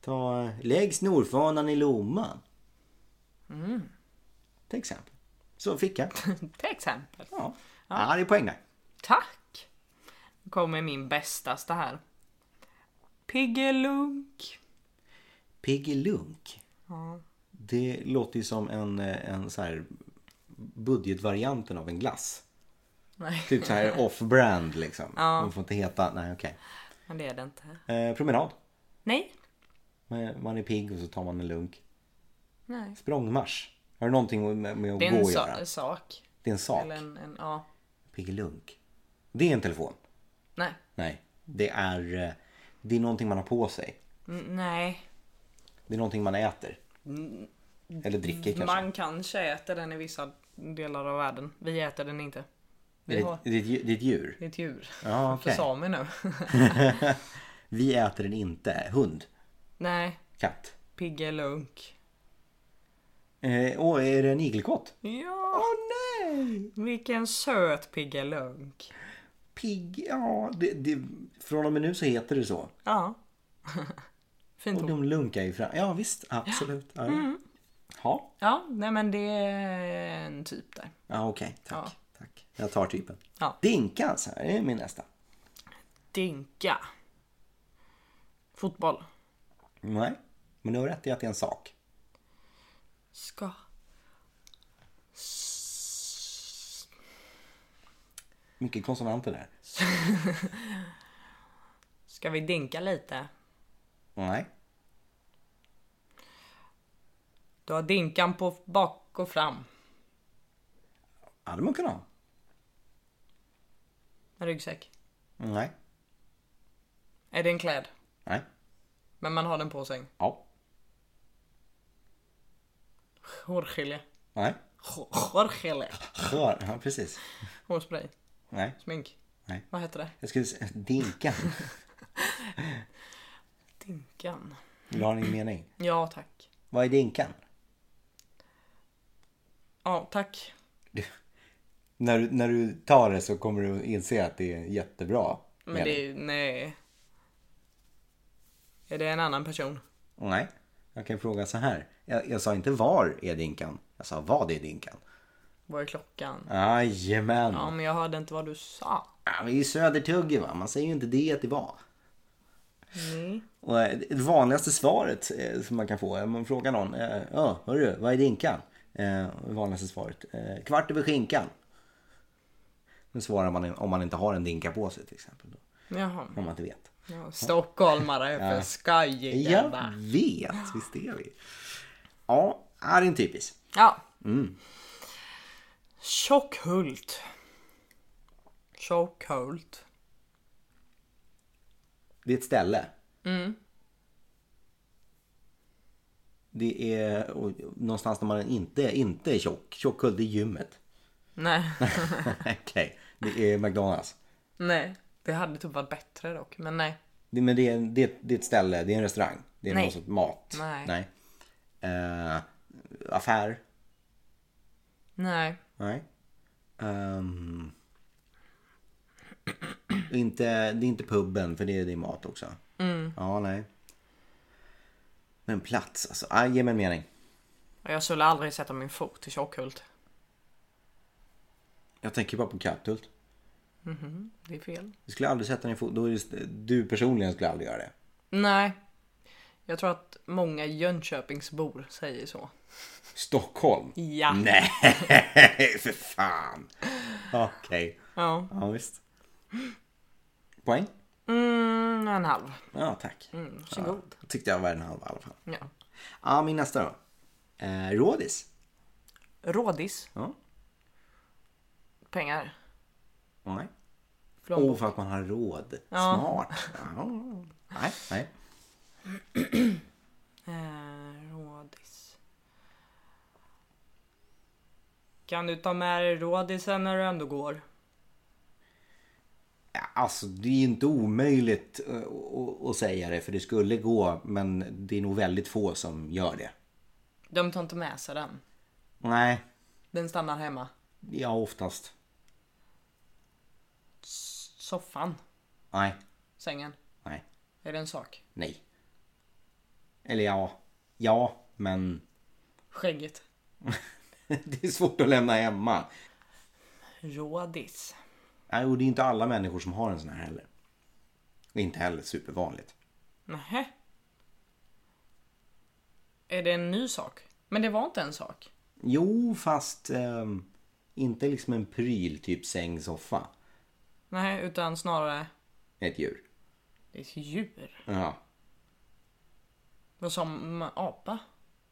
[SPEAKER 1] Ta, eh, lägg snorfanan i lomman.
[SPEAKER 2] Mm.
[SPEAKER 1] Till exempel. Så ficka.
[SPEAKER 2] Till exempel.
[SPEAKER 1] Ja. ja, det är poäng där.
[SPEAKER 2] Tack! Nu kommer min bästaste här. Piggelunk.
[SPEAKER 1] Piggelunk.
[SPEAKER 2] Ja.
[SPEAKER 1] Det låter ju som en, eh, en så här budgetvarianten av en glass.
[SPEAKER 2] Nej,
[SPEAKER 1] Typ så här off-brand liksom. De får inte heta... Nej, okej.
[SPEAKER 2] men det är det inte.
[SPEAKER 1] Eh, promenad.
[SPEAKER 2] Nej.
[SPEAKER 1] Men Man är pigg och så tar man en lunk.
[SPEAKER 2] Nej.
[SPEAKER 1] Språngmarsch. Har du någonting med, med att
[SPEAKER 2] Det är
[SPEAKER 1] gå
[SPEAKER 2] en
[SPEAKER 1] att göra?
[SPEAKER 2] sa- sak.
[SPEAKER 1] Det är en sak.
[SPEAKER 2] Eller en, en, ja.
[SPEAKER 1] Piggelunk. Det är en telefon.
[SPEAKER 2] Nej.
[SPEAKER 1] Nej. Det är, eh, det är någonting man har på sig.
[SPEAKER 2] Mm, nej.
[SPEAKER 1] Det är någonting man äter. Eller dricker kanske.
[SPEAKER 2] Mm. Man kanske äter den i vissa delar av världen. Vi äter den inte.
[SPEAKER 1] Det
[SPEAKER 2] Vi
[SPEAKER 1] är,
[SPEAKER 2] har,
[SPEAKER 1] det, är ett djur- det är ett djur.
[SPEAKER 2] det är ett djur.
[SPEAKER 1] Ja, okej.
[SPEAKER 2] För samer nu.
[SPEAKER 1] Vi äter den inte. Hund.
[SPEAKER 2] nej.
[SPEAKER 1] Katt.
[SPEAKER 2] Piggelunk.
[SPEAKER 1] Eh, åh, är det en igelkott?
[SPEAKER 2] Ja.
[SPEAKER 1] Åh nej!
[SPEAKER 2] Vilken söt piggelunk.
[SPEAKER 1] Pigg. Ja, det, det, från och med nu så heter det så.
[SPEAKER 2] Ja. Fint
[SPEAKER 1] Och
[SPEAKER 2] ord.
[SPEAKER 1] de lunkar ju fram. Ja, visst. Absolut. Ja,
[SPEAKER 2] Mm.
[SPEAKER 1] ja.
[SPEAKER 2] Ja, nej men det är en typ där.
[SPEAKER 1] ja okej. Tack.
[SPEAKER 2] Ja.
[SPEAKER 1] Tack. Jag tar typen.
[SPEAKER 2] Ja.
[SPEAKER 1] Dinka alltså. Det är min nästa.
[SPEAKER 2] Dinka. Fotboll.
[SPEAKER 1] Nej. Men du har rätt i att det är en sak.
[SPEAKER 2] Ska. S-
[SPEAKER 1] Mycket konsonanter där.
[SPEAKER 2] Ska vi dinka lite?
[SPEAKER 1] Nej.
[SPEAKER 2] Du har dinkan på bak och fram.
[SPEAKER 1] Hade man kunnat ha.
[SPEAKER 2] En ryggsäck.
[SPEAKER 1] Nej.
[SPEAKER 2] Är det en kläd?
[SPEAKER 1] Nej.
[SPEAKER 2] Men man har den på sig.
[SPEAKER 1] Ja.
[SPEAKER 2] Hårgelé.
[SPEAKER 1] Nej.
[SPEAKER 2] Hår- Hårgelé.
[SPEAKER 1] Skör. Ja, precis.
[SPEAKER 2] Hårspray.
[SPEAKER 1] Nej.
[SPEAKER 2] Smink.
[SPEAKER 1] Nej.
[SPEAKER 2] Vad heter det?
[SPEAKER 1] Jag skulle säga dinka.
[SPEAKER 2] Dinkan.
[SPEAKER 1] Vill du ha din mening?
[SPEAKER 2] Ja, tack.
[SPEAKER 1] Vad är dinkan?
[SPEAKER 2] Ja, tack.
[SPEAKER 1] När du, när du tar det så kommer du inse att det är jättebra.
[SPEAKER 2] Men
[SPEAKER 1] mening.
[SPEAKER 2] det är nej. Är det en annan person?
[SPEAKER 1] Nej. Jag kan fråga så här. Jag, jag sa inte var är dinkan. Jag sa vad är dinkan.
[SPEAKER 2] Vad är klockan?
[SPEAKER 1] Jajamän.
[SPEAKER 2] Ja,
[SPEAKER 1] Ja.
[SPEAKER 2] men jag hörde inte vad du sa.
[SPEAKER 1] men det är ju södertugge va. Man säger ju inte det till vad. Och eh, det vanligaste svaret eh, som man kan få om man frågar någon. eh, Ja, hörru, vad är dinkan? Eh, Det vanligaste svaret. eh, Kvart över skinkan. Men svarar man om man inte har en dinka på sig till exempel. Då,
[SPEAKER 2] Jaha.
[SPEAKER 1] om man inte vet.
[SPEAKER 2] Ja, stockholmare är för skojiga
[SPEAKER 1] Jag
[SPEAKER 2] va?
[SPEAKER 1] vet, visst är vi. Ja, är en typisk.
[SPEAKER 2] Ja. Tjockhult. Tjockhult.
[SPEAKER 1] Det är ett ställe.
[SPEAKER 2] Mm.
[SPEAKER 1] Det är och, någonstans där man inte, inte är tjock. Tjockhult, det är gymmet.
[SPEAKER 2] Nej.
[SPEAKER 1] Okej, det är McDonalds.
[SPEAKER 2] nej. Det hade typ varit bättre dock. Men nej.
[SPEAKER 1] Det, men det är, det, det är ett ställe, det är en restaurang. Det är
[SPEAKER 2] Nej.
[SPEAKER 1] någon sorts mat.
[SPEAKER 2] Nej.
[SPEAKER 1] Eh, affär.
[SPEAKER 2] Nej.
[SPEAKER 1] Nej. Ehm, inte, det är inte puben för det är, det är mat också.
[SPEAKER 2] Mm.
[SPEAKER 1] Ja, nej. Men plats alltså. Ah, ge mig en mening.
[SPEAKER 2] Och Jag skulle aldrig sätta min fot i Tjockhult.
[SPEAKER 1] Jag tänker bara på Katthult.
[SPEAKER 2] Det är fel.
[SPEAKER 1] Du skulle aldrig sätta din fot. Då är det, du personligen skulle aldrig göra det.
[SPEAKER 2] Nej. Jag tror att många Jönköpingsbor säger så.
[SPEAKER 1] Stockholm?
[SPEAKER 2] Ja.
[SPEAKER 1] Nej, för fan. Okej.
[SPEAKER 2] Ja.
[SPEAKER 1] Ja, visst. Poäng?
[SPEAKER 2] Mm, en halv.
[SPEAKER 1] Ja, tack.
[SPEAKER 2] Mm, Varsågod.
[SPEAKER 1] Jag tyckte jag var en halv i alla fall. Ja,
[SPEAKER 2] Ja.
[SPEAKER 1] ah, min nästa då. Eh, rådis.
[SPEAKER 2] Rådis.
[SPEAKER 1] Ja.
[SPEAKER 2] Pengar.
[SPEAKER 1] Nej. Åh,
[SPEAKER 2] Plånbok.
[SPEAKER 1] för att man har råd. Smart. Ja. Nej, nej.
[SPEAKER 2] Eh, rådis. Kan du ta med dig rådisen när du ändå går?
[SPEAKER 1] Ja, Alltså det är ju inte omöjligt eh, att- att säga det för det skulle gå men det är nog väldigt få som gör det.
[SPEAKER 2] De tar inte med sig den.
[SPEAKER 1] Nej,
[SPEAKER 2] Den stannar hemma.
[SPEAKER 1] ja oftast.
[SPEAKER 2] Soffan.
[SPEAKER 1] Nej,
[SPEAKER 2] Sängen.
[SPEAKER 1] nej,
[SPEAKER 2] Är det en sak?
[SPEAKER 1] nej. Eller ja, ja men
[SPEAKER 2] Skägget.
[SPEAKER 1] det är svårt att lämna hemma.
[SPEAKER 2] Rådis.
[SPEAKER 1] Nej, och det är inte alla människor som har en sån här heller. Och inte heller supervanligt.
[SPEAKER 2] Nähä. Är det en ny sak? Men det var inte en sak.
[SPEAKER 1] Jo, fast ehm, inte liksom en pryl, typ säng, soffa.
[SPEAKER 2] Nej, utan snarare
[SPEAKER 1] Ett djur.
[SPEAKER 2] det är ett djur.
[SPEAKER 1] Ja,
[SPEAKER 2] Vad som apa?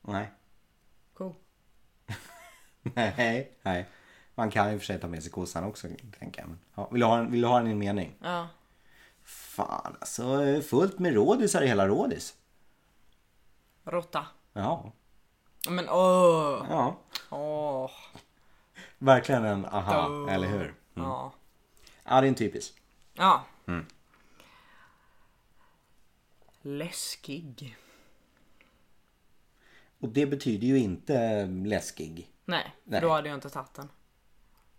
[SPEAKER 1] nej.
[SPEAKER 2] Ko?
[SPEAKER 1] Nej, nej. Man kan ju för sig ta med sig kossan också, tänker jag. Men, Ja, vill, du ha en, vill du ha en i en mening?
[SPEAKER 2] Ja.
[SPEAKER 1] Fan, alltså eh, fullt med rådisar i hela rådis.
[SPEAKER 2] Råtta.
[SPEAKER 1] Ja,
[SPEAKER 2] Men åh!
[SPEAKER 1] ja.
[SPEAKER 2] Åh!
[SPEAKER 1] Verkligen en aha, eller hur?
[SPEAKER 2] Ja.
[SPEAKER 1] Ja, det är en typisk.
[SPEAKER 2] Ja.
[SPEAKER 1] Mm.
[SPEAKER 2] Läskig.
[SPEAKER 1] Och det betyder ju inte läskig.
[SPEAKER 2] Nej,
[SPEAKER 1] Nej.
[SPEAKER 2] då hade jag inte tagit den.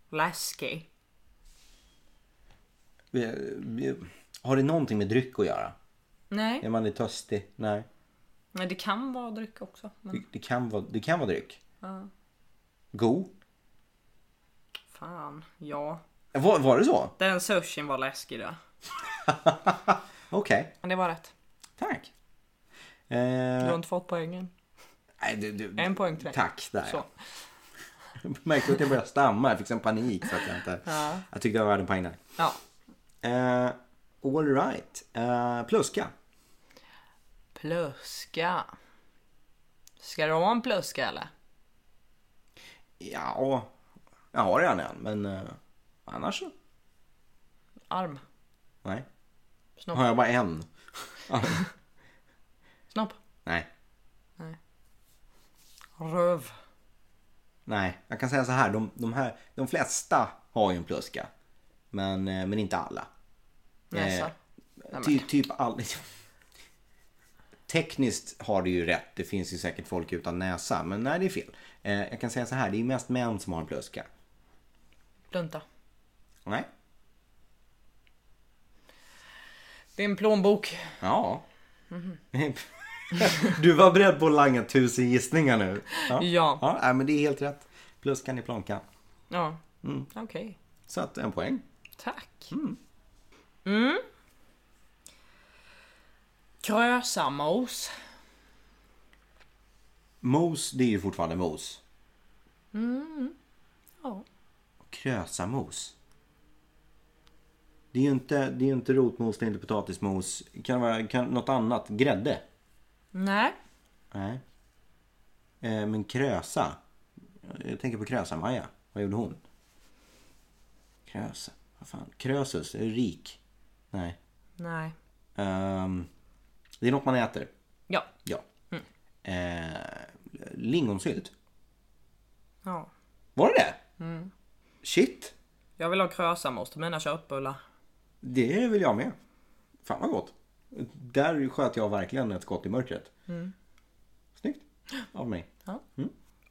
[SPEAKER 2] Läskig.
[SPEAKER 1] Eh, eh, Har det någonting med dryck att göra?
[SPEAKER 2] Nej,
[SPEAKER 1] Är man är törstig? Nej.
[SPEAKER 2] men det kan vara dryck också. Men
[SPEAKER 1] Det, det, kan, vara, det kan vara dryck.
[SPEAKER 2] Ja.
[SPEAKER 1] God?
[SPEAKER 2] fan, ja.
[SPEAKER 1] Var, var det så?
[SPEAKER 2] Den sushin var läskig då.
[SPEAKER 1] Okej,
[SPEAKER 2] Men det var rätt.
[SPEAKER 1] tack.
[SPEAKER 2] Du
[SPEAKER 1] Eh,
[SPEAKER 2] har inte fått poängen.
[SPEAKER 1] nej, du, du,
[SPEAKER 2] En poäng till dig.
[SPEAKER 1] Mm. Tack, där
[SPEAKER 2] Så.
[SPEAKER 1] Jag märkte att jag började stamma, jag fick sån panik så att jag inte... Jag tyckte jag var värd en poäng där.
[SPEAKER 2] Ja.
[SPEAKER 1] Eh, all right. Eh, pluska.
[SPEAKER 2] Pluska. Ska du ha en pluska eller?
[SPEAKER 1] Ja, jag har redan en, men eh, annars så.
[SPEAKER 2] Arm.
[SPEAKER 1] Nej.
[SPEAKER 2] Snopp.
[SPEAKER 1] Har jag bara en?
[SPEAKER 2] Snopp.
[SPEAKER 1] Nej.
[SPEAKER 2] Röv.
[SPEAKER 1] Nej, jag kan säga så här. De, de, här, de flesta har ju en pluska. Men, eh, men inte alla.
[SPEAKER 2] Näsa.
[SPEAKER 1] Eh, Ty, typ all... Tekniskt har du ju rätt. Det finns ju säkert folk utan näsa. Men nej, det är fel. Eh, jag kan säga så här. Det är ju mest män som har en pluska.
[SPEAKER 2] Plunta.
[SPEAKER 1] Nej.
[SPEAKER 2] Det är en plånbok.
[SPEAKER 1] Ja. du var beredd på att langa tusen gissningar nu. Ja.
[SPEAKER 2] Ja.
[SPEAKER 1] ja nej, men det är helt rätt. Pluskan i plankan.
[SPEAKER 2] Ja.
[SPEAKER 1] Mm.
[SPEAKER 2] Okej.
[SPEAKER 1] Så att en poäng.
[SPEAKER 2] Tack. Mm. Krösamos.
[SPEAKER 1] Mos, det är ju fortfarande mos.
[SPEAKER 2] Ja.
[SPEAKER 1] Krösamos. Det är ju inte, det är ju inte rotmos, det är inte potatismos. Kan det vara kan, något annat? Grädde?
[SPEAKER 2] Nej.
[SPEAKER 1] Nej. Eh, men krösa. Jag tänker på Krösa-Maja. Vad gjorde hon? Krösa. Vad fan? Krösus. Är det rik? Nej.
[SPEAKER 2] Nej.
[SPEAKER 1] Ehm, det är något man äter.
[SPEAKER 2] Ja.
[SPEAKER 1] Ja. Eh, lingonsylt.
[SPEAKER 2] ja.
[SPEAKER 1] Var det det? Shit.
[SPEAKER 2] Jag vill ha krösamos till mina köttbullar.
[SPEAKER 1] Det vill jag med. Fan vad gott. Där sköt jag verkligen ett skott i mörkret. Snyggt. Av mig.
[SPEAKER 2] Ja.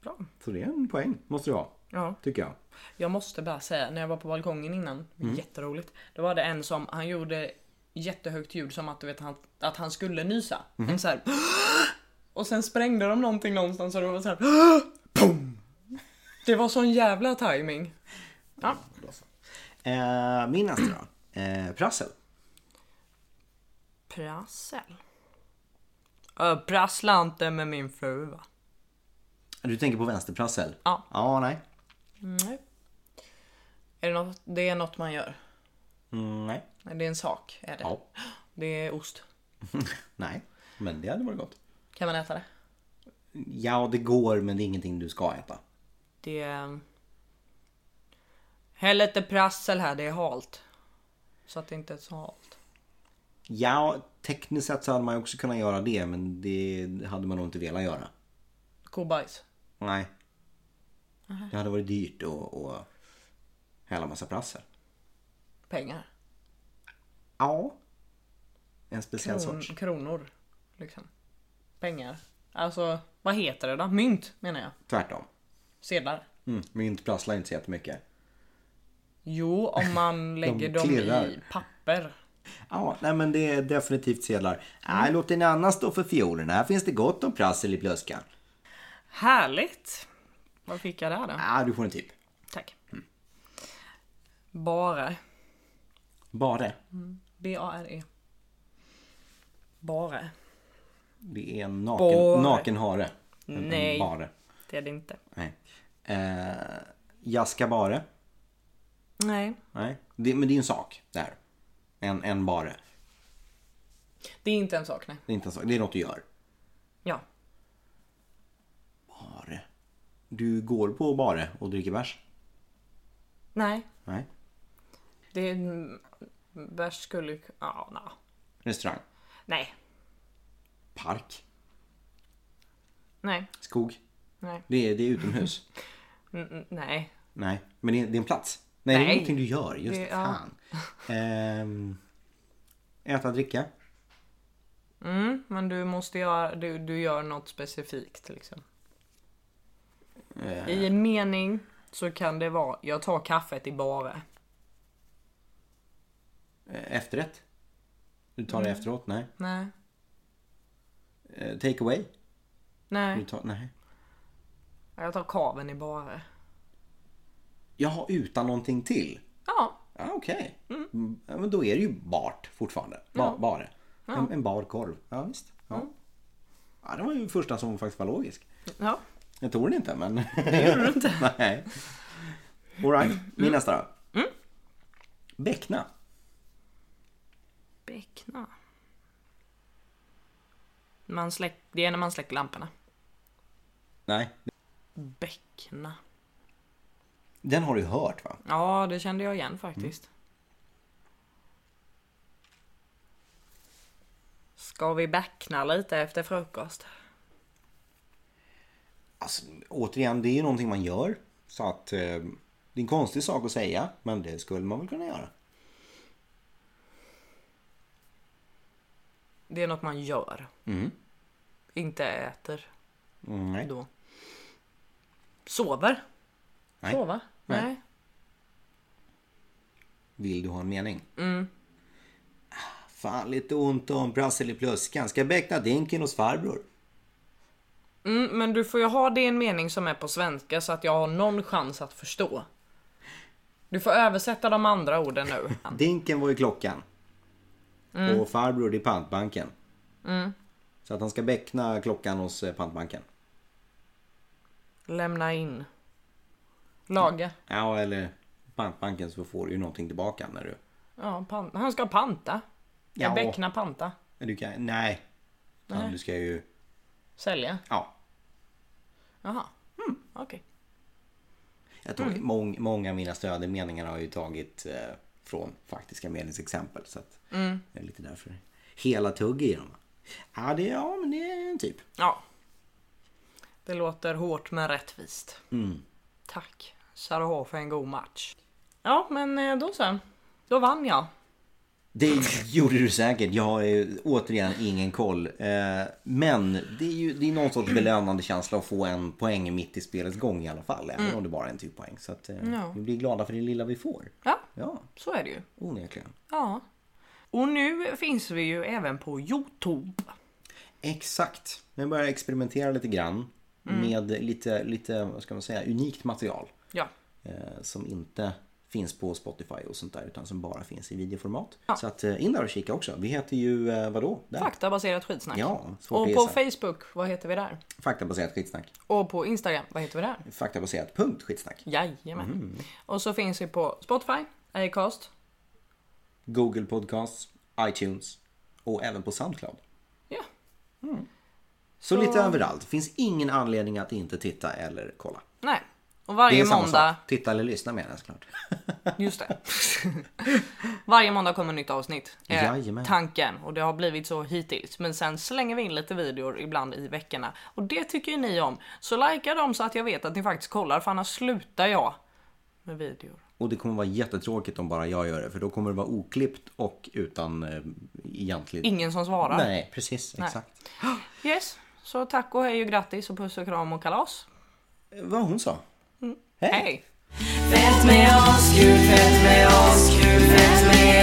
[SPEAKER 2] Bra.
[SPEAKER 1] Så det är en poäng. Måste det vara.
[SPEAKER 2] Ja.
[SPEAKER 1] Tycker jag.
[SPEAKER 2] Jag måste bara säga, när jag var på balkongen innan, jätteroligt. Då var det en som, han gjorde jättehögt ljud som att du vet han, att han skulle nysa. En så här, och sen sprängde de någonting någonstans och det var så här, pum! Det var sån jävla timing. Ja.
[SPEAKER 1] Eh, min nästa då. Eh, prassel.
[SPEAKER 2] Prassel. Ö, prassla inte med min fru va?
[SPEAKER 1] Du tänker på vänsterprassel?
[SPEAKER 2] Ja.
[SPEAKER 1] Ja, nej.
[SPEAKER 2] Nej. Är det, något, det är något man gör.
[SPEAKER 1] Mm, nej.
[SPEAKER 2] Nej, Det är en sak. Är det.
[SPEAKER 1] Ja.
[SPEAKER 2] det är ost.
[SPEAKER 1] nej. Men det hade varit gott.
[SPEAKER 2] Kan man äta det?
[SPEAKER 1] Ja, det går men det är ingenting du ska äta.
[SPEAKER 2] Det är... ehm, Häll lite prassel här, det är halt. Så att det inte är så halt.
[SPEAKER 1] Ja, tekniskt sett så hade man ju också kunnat göra det men det hade man nog inte velat göra.
[SPEAKER 2] Kobajs.
[SPEAKER 1] Nej. Det hade varit dyrt och, och hälla massa prassel.
[SPEAKER 2] Pengar.
[SPEAKER 1] Ja. En speciell
[SPEAKER 2] Kron,
[SPEAKER 1] sorts.
[SPEAKER 2] kronor. Liksom. Pengar. Alltså, vad heter det då? Mynt menar jag.
[SPEAKER 1] Tvärtom.
[SPEAKER 2] Sedlar.
[SPEAKER 1] Mm. Mynt prasslar inte så jättemycket.
[SPEAKER 2] Jo, om man lägger dem i
[SPEAKER 1] klirrar.
[SPEAKER 2] papper.
[SPEAKER 1] Ja, nej men det är definitivt sedlar. Nej, låt en annan stå för fiolerna. Här finns det gott om prassel i blöskan.
[SPEAKER 2] Härligt! Vad fick jag där då?
[SPEAKER 1] Nej, du får en typ.
[SPEAKER 2] Tack. Bara.
[SPEAKER 1] Bara.
[SPEAKER 2] B-A-R-E. Bara.
[SPEAKER 1] Det är en
[SPEAKER 2] Bara.
[SPEAKER 1] naken, naken hare. En- en
[SPEAKER 2] Nej.
[SPEAKER 1] Bare.
[SPEAKER 2] Det är det inte.
[SPEAKER 1] Nej. Eh, jaska bare.
[SPEAKER 2] Nej.
[SPEAKER 1] Nej. Det, men det är ju en sak. Där. En, en bare.
[SPEAKER 2] Det är inte en sak, nej.
[SPEAKER 1] Det är inte en sak. Det är något du gör.
[SPEAKER 2] Ja.
[SPEAKER 1] Bare. Du går på bare och dricker bärs.
[SPEAKER 2] Nej.
[SPEAKER 1] Nej.
[SPEAKER 2] Det är... mm, Bärs skulle... ju- Ja, nja.
[SPEAKER 1] Restaurang.
[SPEAKER 2] Nej.
[SPEAKER 1] Park.
[SPEAKER 2] Nej.
[SPEAKER 1] Skog.
[SPEAKER 2] Nej.
[SPEAKER 1] Det är, det är utomhus.
[SPEAKER 2] Mm, mm, Nej.
[SPEAKER 1] Nej. Men det är, det är en plats. Nej, det
[SPEAKER 2] Nej.
[SPEAKER 1] är någonting du gör. Just
[SPEAKER 2] Det-
[SPEAKER 1] det,
[SPEAKER 2] ja.
[SPEAKER 1] fan. Ehm, äta, dricka.
[SPEAKER 2] Mm, men du måste göra... Du, du gör något specifikt liksom.
[SPEAKER 1] Eh,
[SPEAKER 2] I en mening så kan det vara... Jag tar kaffet i bara.
[SPEAKER 1] Eh, efterrätt. Du tar det
[SPEAKER 2] Mm.
[SPEAKER 1] efteråt? Nej.
[SPEAKER 2] Nej.
[SPEAKER 1] Eh, take away? Du
[SPEAKER 2] Nej.
[SPEAKER 1] tar, nej.
[SPEAKER 2] Jag tar kaven i bara.
[SPEAKER 1] Jaha, utan någonting till?
[SPEAKER 2] Ja.
[SPEAKER 1] Ja, okej. Mm. Ja, men då är det ju bart fortfarande. Ba, Bare. En, en bar korv. Ja, visst. Ja.
[SPEAKER 2] Mm.
[SPEAKER 1] Ja, det var ju första som faktiskt var logisk.
[SPEAKER 2] Ja.
[SPEAKER 1] Jag tror den inte, men... Det gjorde du inte. Mm. Nej. All right, min nästa då. Bäckna.
[SPEAKER 2] Beckna. Man släck, det är när man släcker lamporna.
[SPEAKER 1] Nej,
[SPEAKER 2] Beckna.
[SPEAKER 1] den har du ju hört va?
[SPEAKER 2] Ja, det kände jag igen faktiskt. Ska vi beckna lite efter frukost?
[SPEAKER 1] Alltså, återigen, det är ju någonting man gör. Så att... Eh, det är en konstig sak att säga, men det skulle man väl kunna göra.
[SPEAKER 2] Det är något man gör. Inte äter
[SPEAKER 1] Mm, nej.
[SPEAKER 2] då. Sover?
[SPEAKER 1] Nej.
[SPEAKER 2] Sova?
[SPEAKER 1] Nej.
[SPEAKER 2] Nej.
[SPEAKER 1] Vill du ha en mening? Mm. Fan, lite ont om prassel i pluskan. Ska jag bäckna dinken hos farbror?
[SPEAKER 2] Mm, men du får ju ha det i en mening som är på svenska så att jag har någon chans att förstå. Du får översätta de andra orden nu.
[SPEAKER 1] Dinken var ju klockan. Och farbror det är pantbanken. Mm. Så att han ska bäckna klockan hos eh, pantbanken.
[SPEAKER 2] Lämna in. Laga.
[SPEAKER 1] Ja, eller pantbanken så får du ju någonting tillbaka när du...
[SPEAKER 2] Ja, pan- han ska panta. Ja.
[SPEAKER 1] Ja.
[SPEAKER 2] Bäckna panta.
[SPEAKER 1] Men Du kan... Nej. Fan, du ska ju...
[SPEAKER 2] Sälja.
[SPEAKER 1] Ja.
[SPEAKER 2] Jaha. Mm, Okej.
[SPEAKER 1] Jag tror mång, många av mina stödmeningar har jag ju tagit eh, från faktiska medlemsexempel. Så att det är lite därför. Hela tugg i dem. Ja, det, ja, men det är en typ.
[SPEAKER 2] Ja. Det låter hårt men rättvist. Tack. Sarah för en god match. Ja, men eh, då så. Då vann jag.
[SPEAKER 1] Det gjorde du säkert. Jag har ju återigen ingen koll. Eh, Men det är ju det är någon sorts belönande känsla att få en poäng mitt i spelets gång i alla fall. Även om det bara är en typ poäng. Så att, eh,
[SPEAKER 2] Ja.
[SPEAKER 1] vi blir glada för det lilla vi får.
[SPEAKER 2] Ja,
[SPEAKER 1] Ja,
[SPEAKER 2] så är det ju.
[SPEAKER 1] onekligen.
[SPEAKER 2] Ja. Och nu finns vi ju även på Youtube.
[SPEAKER 1] Exakt. Jag börjar experimentera lite grann.
[SPEAKER 2] Mm.
[SPEAKER 1] Med lite, lite, vad ska man säga, unikt material.
[SPEAKER 2] Ja.
[SPEAKER 1] eh, som inte finns på Spotify och sånt där utan som bara finns i videoformat.
[SPEAKER 2] Ja.
[SPEAKER 1] Så att eh, in där och kika också. Vi heter ju eh, vadå? Där.
[SPEAKER 2] Faktabaserat skitsnack.
[SPEAKER 1] Ja, svårt
[SPEAKER 2] Och
[SPEAKER 1] att
[SPEAKER 2] på
[SPEAKER 1] gissa.
[SPEAKER 2] Facebook, vad heter vi där?
[SPEAKER 1] Faktabaserat skitsnack.
[SPEAKER 2] Och på Instagram, vad heter vi där?
[SPEAKER 1] Faktabaserat punkt skitsnack.
[SPEAKER 2] Jajamän.
[SPEAKER 1] Mm.
[SPEAKER 2] Och så finns vi på Spotify, Acast.
[SPEAKER 1] Google Podcasts, iTunes och även på Soundcloud.
[SPEAKER 2] Ja.
[SPEAKER 1] Så, lite överallt. Finns ingen anledning att inte titta eller kolla.
[SPEAKER 2] Nej. Och
[SPEAKER 1] Det
[SPEAKER 2] varje
[SPEAKER 1] är samma
[SPEAKER 2] måndag.
[SPEAKER 1] sak. Titta eller lyssna menar jag såklart.
[SPEAKER 2] Just det. Varje måndag kommer nytt avsnitt. är
[SPEAKER 1] Jajamän.
[SPEAKER 2] tanken. Och det har blivit så hittills. Men sen slänger vi in lite videor ibland i veckorna. Och det tycker ju ni om. Så likea dem så att jag vet att ni faktiskt kollar. För annars slutar jag med videor.
[SPEAKER 1] Och det kommer vara jättetråkigt om bara jag gör det. För då kommer det vara oklippt och utan eh, egentligen...
[SPEAKER 2] Ingen som svarar.
[SPEAKER 1] Nej, precis. Exakt.
[SPEAKER 2] Yes. Så tack och hej och grattis och puss och kram och kalas.
[SPEAKER 1] Eh, Vad hon sa.
[SPEAKER 2] hej.
[SPEAKER 3] Fett med oss, kul, fett med oss, kul, fett med